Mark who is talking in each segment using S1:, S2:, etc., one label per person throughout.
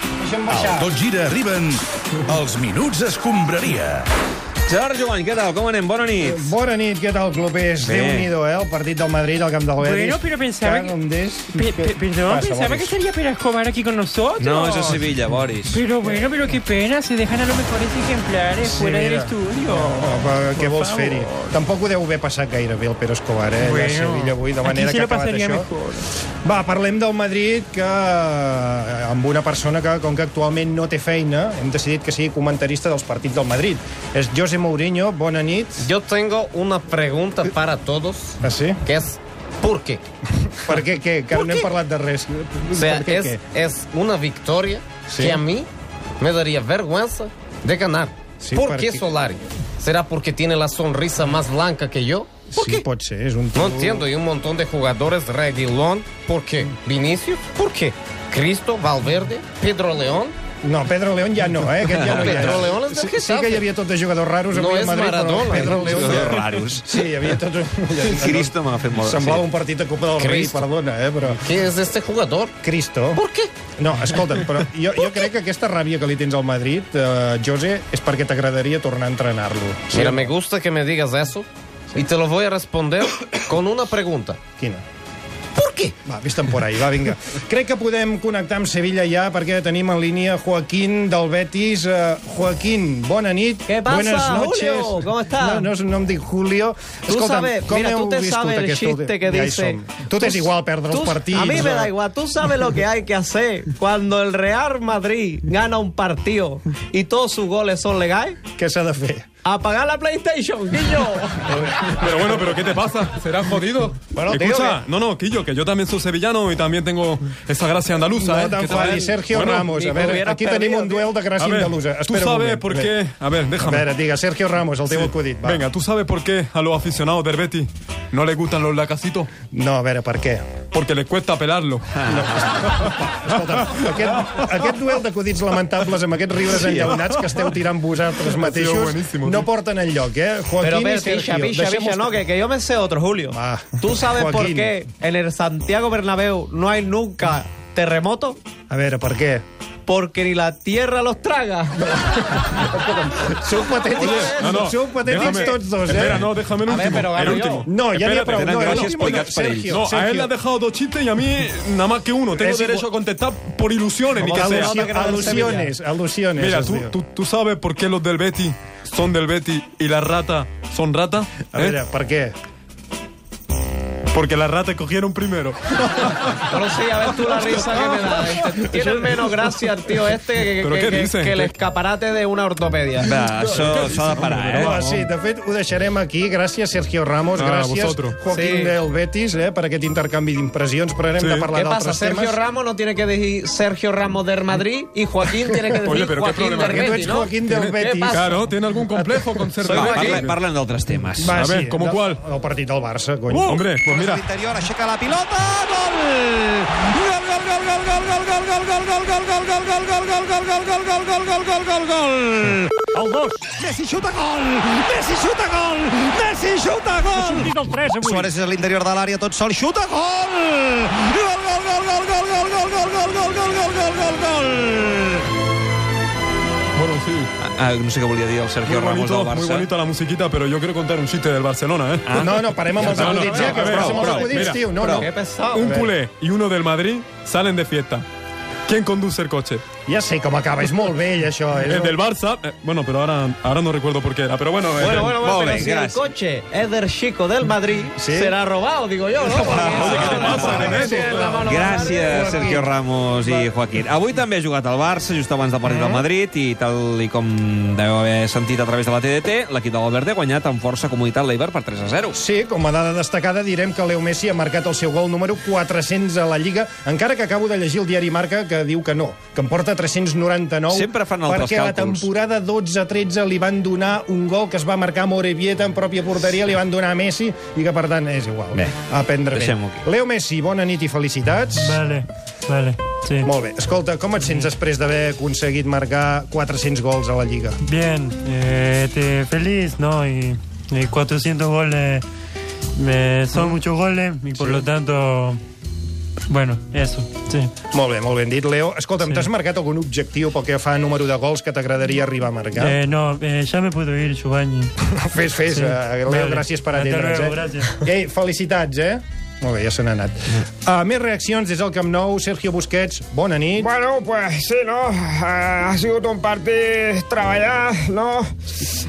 S1: deixa'm baixar.
S2: Al Tot Gira arriben els Minuts Escombraria.
S3: Jordi Joan, què tal? Com anem? Bona nit.
S1: Bona nit, què tal, clubers?
S3: Bé.
S1: Déu-n'hi-do, eh? El partit del Madrid al camp del Betis.
S4: Bueno, pero pensaba
S1: que...
S4: que-
S1: Des...
S4: Pe- pe- perdón,
S1: Pasa,
S4: pensaba
S1: Boris.
S4: que estaría Pera Escobar aquí con nosotros.
S3: No, és a Sevilla, Boris.
S4: Pero bueno, pero qué pena, se dejan a los mejores ejemplares
S1: Sí,
S4: fuera del
S1: mira.
S4: estudio.
S1: No, però què
S4: Por
S1: vols
S4: favor.
S1: fer-hi? Tampoc ho deu haver passat gaire bé el Pere Escobar, eh? Allà a Sevilla avui, de
S4: aquí
S1: manera
S4: se
S1: que ha
S4: lo
S1: acabat
S4: pasaría
S1: això.
S4: mejor.
S1: Va, parlem del Madrid, que eh, amb una persona que, com que actualment no té feina, hem decidit que sigui comentarista dels partits del Madrid. És José Mourinho, bona nit.
S5: Yo tengo una pregunta para todos,
S1: Ah, sí?
S5: que es ¿por qué?
S1: Per què, què? Que no hem parlat de res.
S5: O sea,
S1: per què,
S5: es,
S1: què?
S5: es una victoria
S1: Sí.
S5: que a mí me daría vergüenza de ganar.
S1: Sí,
S5: ¿Por
S1: porque-
S5: qué Solari? ¿Será porque tiene la sonrisa más blanca que yo? ¿Por
S1: Sí,
S5: qué?
S1: pot ser, és un tio...
S5: No entiendo, y un montón de jugadores, Reguilón, ¿por qué?
S1: Mm.
S5: Vinicius, ¿por qué? Cristo, Valverde, Pedro León,
S1: No, Pedro León ja no, eh? Aquest ja no, hi era.
S5: Pedro León és del
S1: sí, sí
S5: Getafe.
S1: que hi havia tot de jugadors raros
S5: No
S1: avui al
S5: és
S1: Madrid, però
S5: Maradona. eh?
S1: Pedro León ja...
S3: Jugadors raros.
S1: Sí, hi havia tot...
S3: Cristo m'ha fet molt de
S1: Semblava un partit de Copa del Rei,
S5: Cristo.
S1: perdona, eh? Però...
S5: ¿qué es este jugador?
S1: Cristo.
S5: ¿Por qué?
S1: No, escolta'm, però jo, jo crec que aquesta ràbia que li tens al Madrid, eh, Jose, és perquè t'agradaria tornar a entrenar-lo.
S5: Mira, me gusta que me digas eso y te lo voy a responder con una pregunta.
S1: Quina?
S5: ¿Por qué?
S1: Va, vés-te'n por ahí, va, vinga. Crec que podem connectar amb Sevilla ja, perquè tenim en línia Joaquín del Betis. Eh, Joaquín, bona nit.
S6: ¿Qué pasa,
S1: Buenas noches.
S6: Julio? ¿Cómo estás?
S1: No, no, no em dic Julio.
S6: Tú sabes,
S1: com
S6: mira,
S1: heu
S6: tú te
S1: viscut
S6: sabes el
S1: aquesta
S6: chiste
S1: última-
S6: que
S1: Ja hi
S6: dice.
S1: som. Tu t'és igual perdre
S6: Tú-
S1: els partits.
S6: A mí me
S1: va.
S6: da igual. Tú sabes lo que hay que hacer cuando el Real Madrid gana un partido y todos sus goles son legales.
S1: Què s'ha de fer?
S6: Apagar la PlayStation, guillo.
S7: Pero bueno, pero ¿qué te pasa? ¿Serás jodido?
S1: Bueno, tío,
S7: Escucha,
S1: que-
S7: no, no, Quillo, que yo también soy sevillano y también tengo esa gracia andaluza.
S1: No
S7: ¿eh? ¿Qué te
S1: t'enfadis,
S7: parece?
S1: Sergio
S7: Bueno,
S1: Ramos. A
S6: ni que
S1: veure,
S6: hubieras
S1: aquí tenim
S6: perdido,
S1: un duel de gràcia
S7: A ver,
S1: andalusa.
S7: tú
S1: Espera un
S7: sabes
S1: moment.
S7: por
S1: Bé.
S7: qué... A ver,
S1: A
S7: déjame.
S1: veure, diga, Sergio Ramos, el teu
S7: Sí.
S1: acudit. Va.
S7: Venga, ¿tú sabes por qué a los aficionados del Betis no les gustan los lacasitos?
S1: No, a veure, per què?
S7: Porque les cuesta pelarlo.
S1: Escolta, aquest, aquest duel d'acudits lamentables amb aquests riures enllaunats que esteu tirant vosaltres mateixos
S7: buenísimo,
S1: no
S7: sí.
S1: porten en lloc, eh?
S6: Pero
S1: Joaquín i
S6: ver, picha,
S1: Sergio.
S6: picha, picha,
S1: deixem-los-
S6: no, que, que yo me sé otro, Julio.
S1: Ah.
S6: ¿Tú sabes por
S1: Joaquín.
S6: qué en el Santiago Bernabéu no hay nunca terremoto?
S1: A veure, per què?
S6: Porque ni la tierra los traga.
S1: Sou patètics,
S7: No, no,
S1: sou patètics
S7: déjame-
S1: tots dos, eh?
S7: Espera, no, déjame el
S6: A ver,
S7: último.
S6: pero
S7: el
S6: gano yo.
S7: último.
S1: No, ja n'hi ha
S7: Espérate,
S1: prou.
S7: tenen
S1: No,
S7: gràcies
S1: el últim,
S7: explicats per
S1: Sergio,
S7: No, a él le
S1: Sergio.
S7: ha dejado dos chistes y a mí nada más que uno. Tengo
S1: Es
S7: derecho a
S1: igual-
S7: contestar por ilusiones, ni que sea.
S1: Alusi- Alusiones, alusiones.
S7: Mira,
S1: es
S7: tú,
S1: diu.
S7: tú, tú sabes por qué los del Betty son del Betty y las ratas son ratas.
S1: A
S7: ¿eh?
S1: veure, per què?
S7: Porque las ratas cogieron primero.
S6: Pero sí, a ver tú la risa que me da. Este, Tiene menos gracia el tío este que, que-
S7: ¿Pero qué
S6: que-
S7: dices?
S6: que el
S7: ¿Qué-
S6: escaparate de una ortopedia.
S3: Va, això s'ha de parar, eh?
S1: Home, sí, de fet, ho deixarem aquí. Gràcies, Sergio Ramos.
S7: Ah,
S1: gràcies,
S7: vosotros.
S1: Joaquín
S6: Sí.
S1: del Betis, eh, per aquest intercanvi d'impressions. Però anem
S7: Sí.
S1: de parlar
S6: ¿Qué pasa?
S1: d'altres temes.
S6: Sergio Ramos no tiene que decir Sergio Ramos del Madrid y Joaquín tiene que decir
S7: Oye, pero qué
S6: Joaquín
S7: problema.
S6: del
S7: Que
S1: tú
S6: Betis,
S1: eres
S6: ¿no?
S1: Joaquín del
S6: ¿Qué
S1: Betis.
S6: pasa?
S7: Claro, tiene algún complejo con ser Uh,
S3: Va,
S7: rata.
S3: parla, parlen d'altres temes.
S1: Va,
S7: A
S1: sí,
S7: ver, ¿cómo
S1: del-
S7: cuál?
S1: El partit del Barça, cony.
S7: Uh, hombre, pues mira.
S3: Interior, aixeca la pilota, gol! Gol, gol, gol, gol, gol, gol, gol, gol, gol, gol, gol, gol, gol, gol, gol, gol, gol, gol, gol, gol, gol, gol, gol, gol, gol!
S8: El 2,
S3: Messi xuta gol! Messi xuta gol! Messi xuta gol!
S8: dit el 3 avui.
S3: Suárez és a l'interior de l'àrea, tot sol, xuta gol! Gol, gol, gol, gol, gol, gol, gol, gol, gol, gol, gol, gol, gol, gol, gol!
S7: Bueno, sí.
S3: Ah, no sé què volia dir el
S7: Muy
S3: Sergio Ramos
S7: bonito,
S3: del
S7: muy
S3: Barça.
S7: bonita la musiquita, pero yo quiero contar un chiste del Barcelona, ¿eh?
S1: Ah, No, no, parem amb els
S7: No, no,
S1: acudits,
S7: no,
S1: ja, que
S7: a veure,
S1: els amb els
S7: prou,
S1: acudits,
S7: mira,
S1: tio. No, no.
S6: Qué pesado.
S7: Un
S1: ver.
S7: culé y uno del Madrid salen de fiesta. ¿Quién conduce el coche?
S1: Ja sé com acaba, és molt vell, això. És
S7: El del Barça. eh, bueno, pero ahora, ahora no recuerdo por qué era, pero bueno. eh,
S6: Bueno, bueno, bueno,
S3: Muy
S6: pero
S3: bien,
S6: si
S3: gracias.
S6: el coche es del chico del Madrid,
S1: Sí.
S6: será robado, digo yo, ¿no?
S7: ¿qué te pasa, Ernesto?
S3: Gràcies, Sergio Ramos i Joaquín. Avui també ha jugat al Barça, just abans del partit del Madrid, i tal i com deveu haver sentit a través de la TDT, l'equip de l'Albert ha guanyat amb força comunitat l'Eibar per 3 a 0.
S1: Sí, com a dada destacada direm que Leo Messi ha marcat el seu gol número 400 a la Lliga, encara que acabo de llegir el diari Marca que diu que no, que en porta 399
S3: Sempre fan altres
S1: perquè la
S3: càlculs.
S1: temporada 12-13 li van donar un gol que es va marcar a Morevieta en pròpia porteria, li van donar a Messi i que per tant és igual,
S3: Bé,
S1: a prendre bé.
S3: deixem-ho aquí.
S1: Leo Messi, bona nit i felicitats.
S8: Vale, vale, sí.
S1: Molt bé. Escolta, com et sents després d'haver aconseguit marcar 400 gols a la Lliga?
S8: Bien, eh, te- feliz, ¿no? Y, y 400 goles, me- son muchos goles y por lo tanto Bueno, eso, sí.
S1: Molt bé, molt ben dit, Leo. Escolta'm,
S8: Sí.
S1: t'has marcat algun objectiu pel que fa a número de gols que t'agradaria arribar a marcar?
S8: Eh, no, eh, ya me puedo ir, Giovanni.
S1: Fes, fes.
S8: Sí.
S1: Sí. Leo,
S8: Vale.
S1: gràcies per
S8: Hasta
S1: atendre'ns.
S8: luego,
S1: eh?
S8: gràcies. Mm.
S1: Ei, felicitats, eh? Molt bé, ja se n'ha anat. Uh, més reaccions des del Camp Nou. Sergio Busquets, bona nit.
S9: Bueno, pues sí, ¿no? Ah, ha sido un partit treballar, no?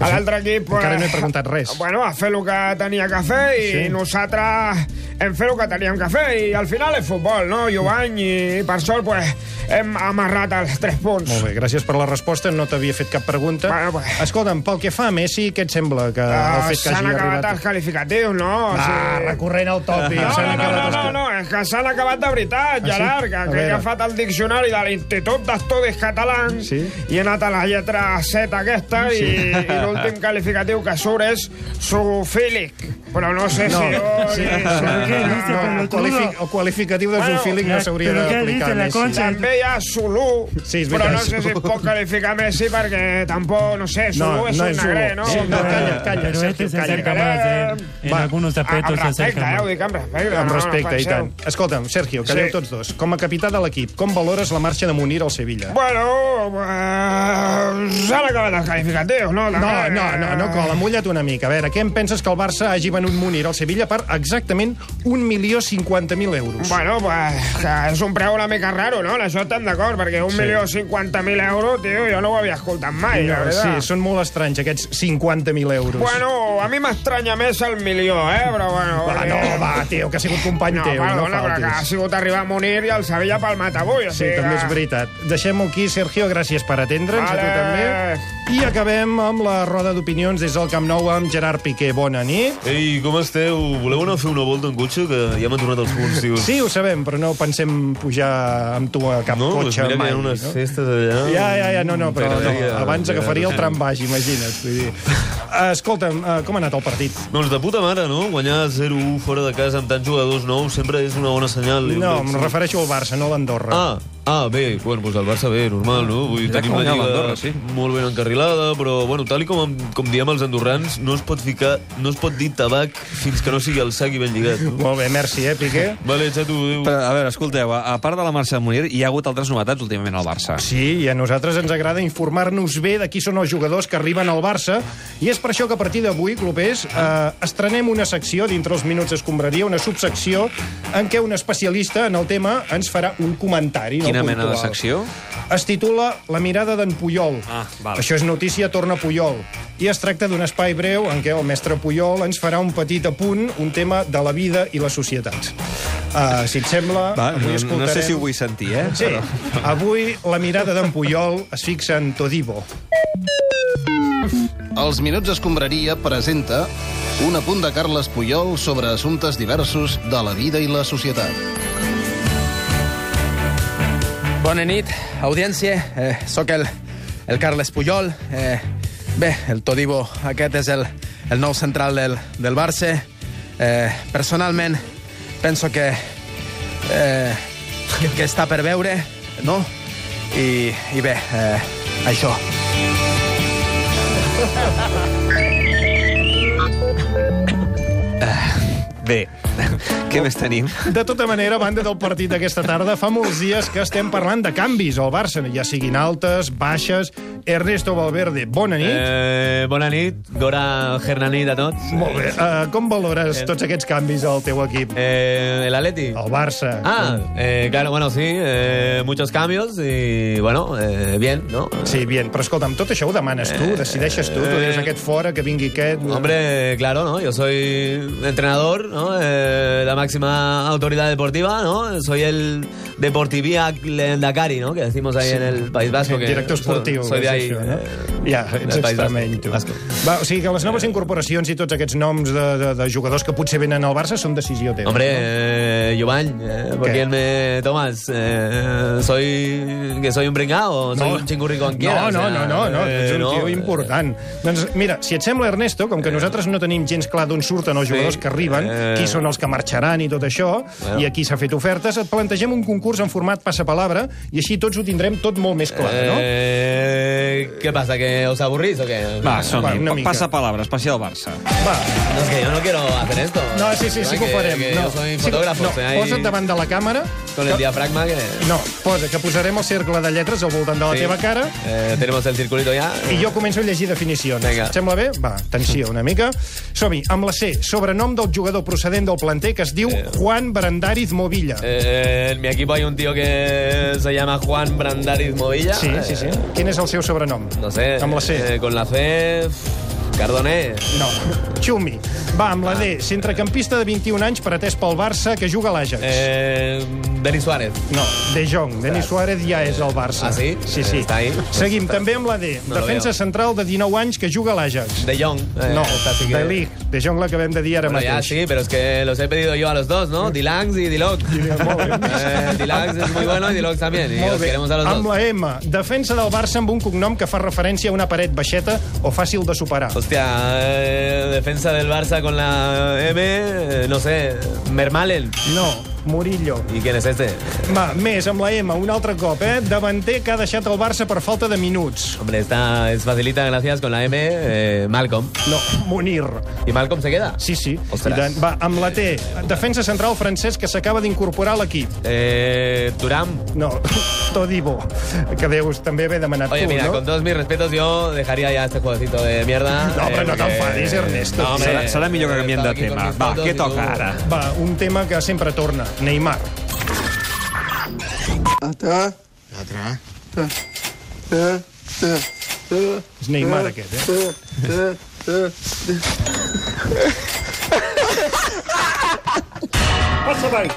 S9: A l'altre equip... Pues,
S1: Encara no he preguntat res.
S9: Bueno, a fer el que tenia que fer i sí.
S1: Sí.
S9: nosaltres hem fet el que teníem que fer i al final és futbol, no, Jovany? I per sort, pues, hem amarrat els tres punts.
S1: Molt bé, gràcies per la resposta. No t'havia fet cap pregunta.
S9: Bueno, pues.
S1: Escolta'm, pel que fa a Messi, què et sembla que
S9: Ah,
S1: el fet que
S9: S'han
S1: hagi
S9: acabat
S1: arribat...
S9: els qualificatius, no? O
S1: Ah,
S9: sigui-
S1: recorrent al tòpic.
S9: No,
S1: s'han
S9: no, no,
S1: acabat
S9: no,
S1: els
S9: no,
S1: que- Ah,
S9: no, és que s'han acabat de veritat,
S1: sí?
S9: Gerard, que,
S1: A
S9: que he
S1: veure.
S9: agafat el diccionari de l'Institut d'Estudis Catalans
S1: Sí.
S9: i he anat a la lletra Z aquesta i, i l'últim qualificatiu que surt és zoofílic. Però no sé
S1: No.
S9: si jo...
S1: Sí,
S9: li-
S1: sí,
S8: què
S1: no,
S8: dices,
S1: no, el,
S8: pelotudo?
S1: qualific, el qualificatiu de
S9: Bueno,
S1: zoofílic no
S8: eh,
S1: s'hauria
S8: però què
S1: d'aplicar a
S8: dices, la
S1: Messi.
S8: concha?
S9: També hi ha Zulu,
S1: Sí, és
S9: però
S1: veritat,
S9: no sé si
S1: Zulu.
S9: es pot qualificar Messi perquè tampoc, no sé, Zulu és un negre, no?
S1: Sí, no,
S9: Eh,
S1: calla, calla,
S8: Pero este
S1: Sergio,
S8: se
S1: calla.
S8: acerca más, eh. En
S1: Va,
S8: algunos
S9: Amb
S8: aspectos se
S9: respecte,
S8: acerca
S9: eh, ho
S8: más.
S9: dic amb
S1: Amb
S9: respecte. no, no
S1: respecte, i
S9: penseu.
S1: tant. Escolta'm, Sergio, calleu
S9: Sí.
S1: tots dos. Com a capità de l'equip, com valores la marxa de Munir al Sevilla?
S9: Bueno, eh, s'han acabat els qualificatius, no?
S1: No, no, no, no cola, mullat una mica. A veure, què en penses que el Barça hagi venut Munir al Sevilla per exactament 1.050.000 euros?
S9: Bueno, pues que és un preu una mica raro, no? En Això estem d'acord, perquè un
S1: Sí.
S9: milió cinquanta mil euros, tio, jo no ho havia escoltat mai, la
S1: sí,
S9: veritat.
S1: són molt estranys, aquests 50.000 euros.
S9: Bueno, a mi m'estranya més el milió, eh? Però bueno...
S1: Va,
S9: eh,
S1: Ah, no, va, tio, que ha sigut company
S9: No,
S1: teu, no
S9: perdona, però que ha
S1: faltis.
S9: sigut arribar a Munir i el Sevilla pel matabull. o
S1: Sí,
S9: sigui
S1: també
S9: que-
S1: és veritat. Deixem-ho aquí, Sergio, gràcies per atendre'ns, a tu
S9: Vale.
S1: també. I acabem amb la roda d'opinions des del Camp Nou amb Gerard Piqué. Bona nit.
S10: Ei, com esteu? Voleu anar a fer una volta en cotxe? Que ja m'han tornat els punts, tio.
S1: Sí, ho sabem, però no pensem pujar amb tu a cap
S10: no? doncs
S1: cotxe
S10: mira
S1: mai.
S10: que hi ha unes
S1: no?
S10: festes allà...
S1: Ja, ja, ja, no, no, però no,
S10: T'agradaria,
S1: abans
S10: ja,
S1: agafaria el
S10: no sé.
S1: trambaix, imagina't. Vull dir. Eh, Escolta'm, eh, com ha anat el partit?
S10: Doncs de puta mare, no? Guanyar 0-1 fora de casa amb tants jugadors nous sempre és una bona senyal. Jo
S1: No,
S10: crec.
S1: em refereixo al Barça, no a l'Andorra.
S10: Ah, ah, bé, bueno, doncs el Barça bé, normal, no? Vull dir,
S3: Ja
S10: tenim
S3: que
S10: la
S3: guanyar
S10: lliga
S3: l'Andorra, sí.
S10: molt ben encarrilada, però, bueno, tal i com, com diem els andorrans, no es pot ficar, no es pot dir tabac fins que no sigui el sac i ben lligat. No?
S1: Molt bé, merci, eh, Piqué?
S10: Vale, xato, adéu.
S3: Però, Eh, a veure, escolteu, a, a part de la marxa de Munir, hi ha hagut altres novetats últimament al Barça.
S1: Sí, i a nosaltres ens agrada informar-nos bé de qui són els jugadors que arriben al Barça, i és per això que a partir d'avui, clubers, eh, estrenem una secció dintre els minuts escombraria, una subsecció en què un especialista en el tema ens farà un comentari.
S3: Quina
S1: no
S3: mena de
S1: puntual.
S3: secció?
S1: Es titula La mirada d'en Puyol.
S3: Ah, val.
S1: Això és notícia, torna Puyol. I es tracta d'un espai breu en què el mestre Puyol ens farà un petit apunt, un tema de la vida i la societat. Uh, si et sembla,
S3: Va,
S1: avui
S3: Ah, no,
S1: escoltarem...
S3: no sé si ho vull sentir, eh?
S1: Sí, avui la mirada d'en Puyol es fixa en Todibo.
S2: Els Minuts Escombraria presenta un apunt de Carles Puyol sobre assumptes diversos de la vida i la societat.
S5: Bona nit, audiència. Eh, soc el, el Carles Puyol. Eh, bé, el Todibo aquest és el, el nou central del, del Barça. Eh, personalment, penso que, eh, que, que està per veure, no? I, i bé, eh, això.
S3: Bé, què més tenim?
S1: De tota manera, a banda del partit d'aquesta tarda, fa molts dies que estem parlant de canvis al Barça, ja siguin altes, baixes... Ernesto Valverde, bona nit.
S6: Eh, bona nit, Gora Hernanit a tots.
S1: Eh, Molt bé. Uh, com valores tots aquests canvis al teu equip?
S6: Eh, el Atleti.
S1: Al Barça.
S6: Ah, eh, claro, bueno, sí, eh, muchos cambios y bueno, eh, bien, ¿no?
S1: Sí, bien, però escolta'm, tot això ho demanes tu, decideixes tu, tu dius aquest fora, que vingui aquest...
S6: Eh. Hombre, claro, ¿no? Yo soy entrenador, ¿no? Eh, la máxima autoridad deportiva, ¿no? Soy el deportivía Dakari, ¿no? Que decimos ahí en el País Vasco. Que
S1: Director
S6: so-
S1: esportiu.
S6: Soy de
S1: és
S6: ahí.
S1: això, no?
S6: eh,
S1: Ja, ets
S6: del País
S1: extremeny,
S6: Basco,
S1: tu.
S6: Basco.
S1: Va, o sigui que les
S6: Eh.
S1: noves incorporacions i tots aquests noms de, de, de jugadors que potser venen al Barça són decisió teva.
S6: Hombre, eh, Giovanni, eh, ¿por
S1: ¿Qué?
S6: quién me tomas? Eh, soy que soy un brengado, soy un chingurri con
S1: no,
S6: quiera, o
S1: no,
S6: sea,
S1: no, no, no,
S6: eh,
S1: ets un
S6: no,
S1: tio
S6: eh,
S1: important.
S6: Eh.
S1: Doncs mira, si et sembla, Ernesto, com que nosaltres no tenim gens clar d'on surten els jugadors que arriben, qui són els els que marxaran i tot això, bueno. i aquí s'ha fet ofertes, et plantegem un concurs en format passapalabra i així tots ho tindrem tot molt més clar, no?
S6: Eh, què passa, que os aburrís o què?
S3: Va, som-hi.
S1: una mica.
S3: Passa palabra, especial Barça.
S1: Va.
S6: No, es que yo no quiero hacer esto.
S1: No, sí, sí, sí que ho farem.
S6: Que,
S1: no.
S6: Yo soy
S1: Sí que-
S6: fotógrafo,
S1: no,
S6: o sea, ahí
S1: Posa't davant de la càmera.
S6: con el diafragma que...
S1: No, posa, que posarem el cercle de lletres al voltant de la
S6: Sí.
S1: teva cara
S6: Eh, tenemos el circulito ya.
S1: i jo començo a llegir definicions.
S6: Vinga.
S1: Et Sembla bé? Va, tensió una mica. Som-hi, amb la C, sobrenom del jugador procedent del planter que es diu Juan Brandariz Movilla.
S6: Eh, en mi equipo hay un tío que se llama Juan Brandariz Movilla.
S1: Sí, sí, sí.
S6: Eh,
S1: Quin és el seu sobrenom?
S6: no sé.
S1: Amb la C.
S6: eh, con la C... pff, Cardoné.
S1: No. Xumi. Va, amb la
S6: Ah.
S1: D, centrecampista de 21 anys pretès pel Barça que juga a l'Àgex.
S6: Eh, Denis Suárez.
S1: No, De Jong. Denis Suárez ja és al Barça.
S6: Ah, sí?
S1: Sí, sí.
S6: Eh, està ahí.
S1: Seguim, també amb la D.
S6: No lo
S1: Defensa
S6: veo.
S1: central de 19 anys que juga a l'Àgex.
S6: De Jong. eh,
S1: No,
S6: esta sí que-
S1: de Lig. De Jong l'acabem de dir ara
S6: Bueno, ya
S1: mateix.
S6: sí, pero es que los he pedido yo a los dos, ¿no? Dilangs y Diloc. Eh, Dilangs es muy bueno y Diloc también. Y los queremos a los
S1: Amb
S6: dos.
S1: la M, defensa del Barça amb un cognom que fa referència a una paret baixeta o fàcil de superar.
S6: Hostia, eh, defensa del Barça con la M, eh, no sé, Mermalen.
S1: No, Murillo.
S6: ¿Y quién es este?
S1: Va, més, amb la M, un altre cop, eh? Davanter que ha deixat el Barça per falta de minuts.
S6: Hombre, esta es facilita, gracias, con la M, eh, Malcolm.
S1: No, Munir.
S6: ¿Y Malcolm se queda?
S1: Sí, sí.
S6: Ostres.
S1: I tant. Va, amb la T, defensa central francès que s'acaba d'incorporar a l'equip.
S6: Eh, Turam.
S1: No, Todibo, que deus també haver demanat
S6: Oye,
S1: tu,
S6: mira,
S1: no?
S6: con todos mis respetos, yo dejaría ya este jueguecito de mierda.
S1: No,
S6: eh,
S1: però no
S6: porque-
S1: t'enfadis, Ernesto.
S6: No, hombre,
S3: Serà, serà millor que canviem
S6: estaba
S3: de
S6: aquí con
S3: tema.
S6: mis
S3: Va,
S6: fotos
S3: què
S6: y tú-
S3: toca ara?
S1: Va, un tema que sempre torna, Neymar. És Neymar, aquest, eh? Passa, vai.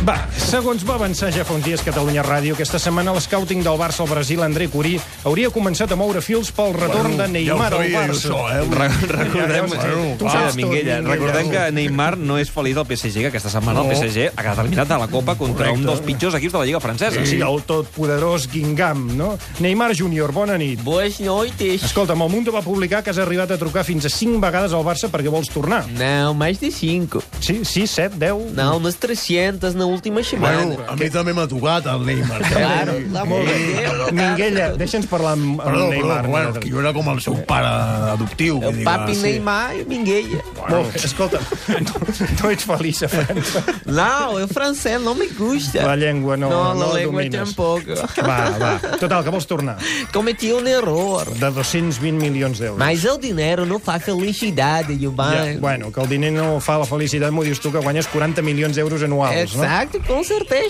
S1: Va, segons va avançar ja fa uns dies Catalunya Ràdio, aquesta setmana l'escouting del Barça al Brasil, André Curí, hauria començat a moure fils pel retorn de Neymar al Barça.
S11: eh?
S3: Re recordem,
S1: Ja, ja ho sé. Tu ho
S3: Ah,
S1: saps tot,
S3: Minguella,
S1: Minguella.
S3: recordem que Neymar no és feliç del PSG, que aquesta setmana el PSG ha quedat eliminat de la Copa contra un dels pitjors equips de la Lliga Francesa.
S1: Sí, el totpoderós Guingamp, no? Neymar Júnior, bona nit.
S6: Buenas noches.
S1: Escolta'm, el Mundo va publicar que has arribat a trucar fins a 5 vegades al Barça perquè vols tornar.
S6: No, más de 5.
S1: Sí, 6, 7, 10...
S6: No, unes 300 na última setmana.
S1: eh,
S11: Bueno, a mi també m'ha tocat el Neymar.
S6: Claro, la
S1: eh, Minguella, deixa'ns parlar amb, amb
S11: Perdó, perdó,
S1: Neymar.
S11: bueno,
S1: nosaltres.
S11: que jo era com el seu pare adoptiu. vull dir que-
S6: Papi
S11: sí.
S6: Neymar i Minguella.
S1: Molt bé, escolta, tu, tu ets feliç a França.
S6: No, el francès no me gusta.
S1: La llengua no,
S6: No,
S1: no
S6: la
S1: la
S6: llengua
S1: domines.
S6: tampoc.
S1: Va, va. Total, que vols tornar?
S6: Cometi un error.
S1: De 220 milions d'euros.
S6: Mas el dinero no fa felicidade,
S1: Ja,
S6: Giovanni.
S1: bueno, que el diner no fa la felicitat, m'ho dius tu, que guanyes 40 milions d'euros anuals, no?
S6: Exacto, com certeza.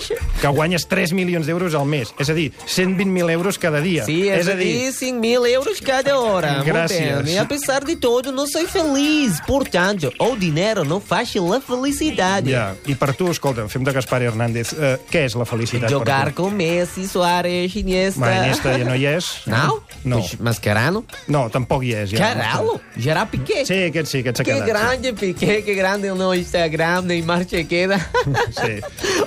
S1: que guanyes 3 milions d'euros al mes. És a dir, 120.000 euros cada dia.
S6: Sí,
S1: és a dir,
S6: 5 mil euros cada hora.
S1: Gracias.
S6: E apesar de todo, não sou feliz. Portanto, o dinheiro não faz a felicidade.
S1: ja. I per tu, escolta'm, fem de Gaspar Hernández. Uh, què és la felicitat
S6: Jogar
S1: per tu?
S6: com Messi, Suárez, Iniesta.
S1: Ma, Iniesta ja no hi és.
S6: Não?
S1: No,
S6: Mas- Mascherano?
S1: no tampoc hi és. Ja.
S6: Caralho, Gerard Piquet.
S1: Sí, aquest sí, aquest s'ha
S6: Que
S1: quedat.
S6: grande, Piquet, que grande no Instagram, Neymar Chequeda.
S1: Sí.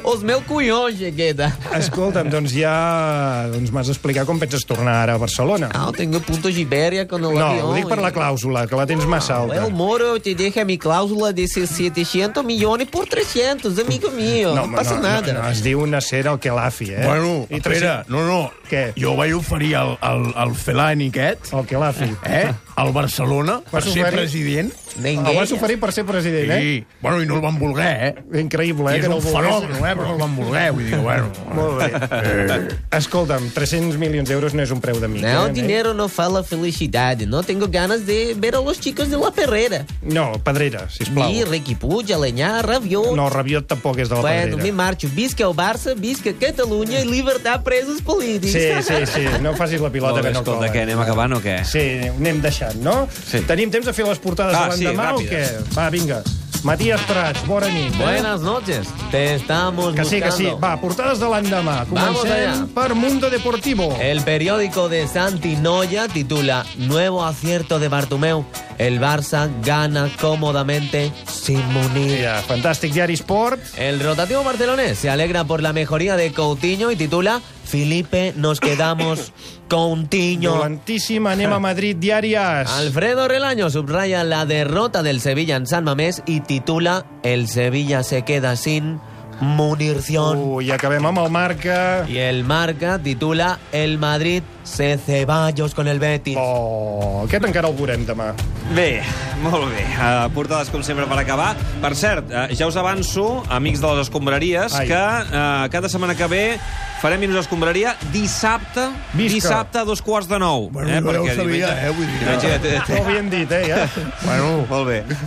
S6: Os meus cunhões Chequeda.
S1: Escolta'm, doncs ja doncs m'has d'explicar com penses tornar ara a Barcelona.
S6: Não, tenho Ah, punto de Ibéria quando
S1: No, ho dic per la clàusula, que la tens massa alta.
S6: El Moro te deixa minha cláusula de 700 milhões por 300, amigo meu. Não, passa
S1: no,
S6: nada.
S1: No, no, es diu Nasser al Kelafi, eh?
S11: Bueno,
S1: I
S11: espera, no, no.
S1: Què?
S11: Jo vaig oferir al, al, al Felani aquest,
S1: El Kelafi.
S11: eh, al Barcelona, per
S7: Pues
S1: Vas
S11: ser
S1: oferir?
S11: president.
S1: El vas oferir per ser president, eh?
S11: I, bueno, i no el van voler, eh?
S1: Increïble, eh?
S11: I és
S1: que no ho
S11: un
S1: volgués.
S11: fenomen, eh? Però no el van voler, vull dir, bueno...
S1: Molt bé. Escolta'm, 300 milions d'euros no és un preu de mica.
S6: Não,
S1: eh?
S6: dinheiro não fala felicidade. Não tenho ganas de ver os chicos de La Ferreira.
S1: No, pedrera, sisplau.
S6: E Ricky Puig, Alenhar, Raviol.
S1: No, Rabiot tampoc és de la
S6: Bueno, me
S1: pedrera.
S6: marcho. Bisca o Barça, bisca Catalunha e libertar presos políticos.
S1: Sí, sí, sí, no facis la pilota
S3: Molt
S1: que
S3: bé,
S1: no cola.
S3: escolta, què, anem acabant o què?
S1: Sí, anem deixant, no?
S3: Eh. Sí.
S1: Tenim temps de fer les portades
S3: Ah,
S1: de
S3: sí,
S1: l'endemà o què?
S3: ràpides.
S1: Va, vinga. Matías Prats, bona nit. Eh?
S6: Buenas noches. Te estamos
S1: Que sí, que
S6: buscando.
S1: sí. Va, portades de l'endemà.
S6: Vamos Eh.
S1: Comencem
S6: allá.
S1: per Mundo Deportivo.
S6: El periódico de Santi Noya titula Nuevo acierto de Bartomeu. El Barça gana cómodamente sin Munir.
S1: Ja, fantàstic diari Esport.
S6: El rotativo barcelonés se alegra por la mejoría de Coutinho y titula Felipe, nos quedamos con Tiño.
S1: Dolentíssim, anem a Madrid diàries.
S6: Alfredo Relaño subraya la derrota del Sevilla en San Mamés y titula El Sevilla se queda sin munición.
S1: Uy, acabem amb el marca.
S6: Y el marca titula El Madrid se ceballos con el Betis.
S1: Oh, aquest encara el veurem demà.
S3: Bé, molt bé. Uh, portades, com sempre, per acabar. Per cert, uh, ja us avanço, amics de les escombraries,
S1: Ai.
S3: Ai. que uh, cada setmana que ve farem Minuts d'Escombraria dissabte,
S1: Visca.
S3: dissabte a dos quarts de nou. Eh,
S11: Bueno, jo ja ho sabia, eh, vull dir.
S3: diumenge-
S1: Ho havien dit, eh, ja.
S11: Bueno,
S3: Molt bé.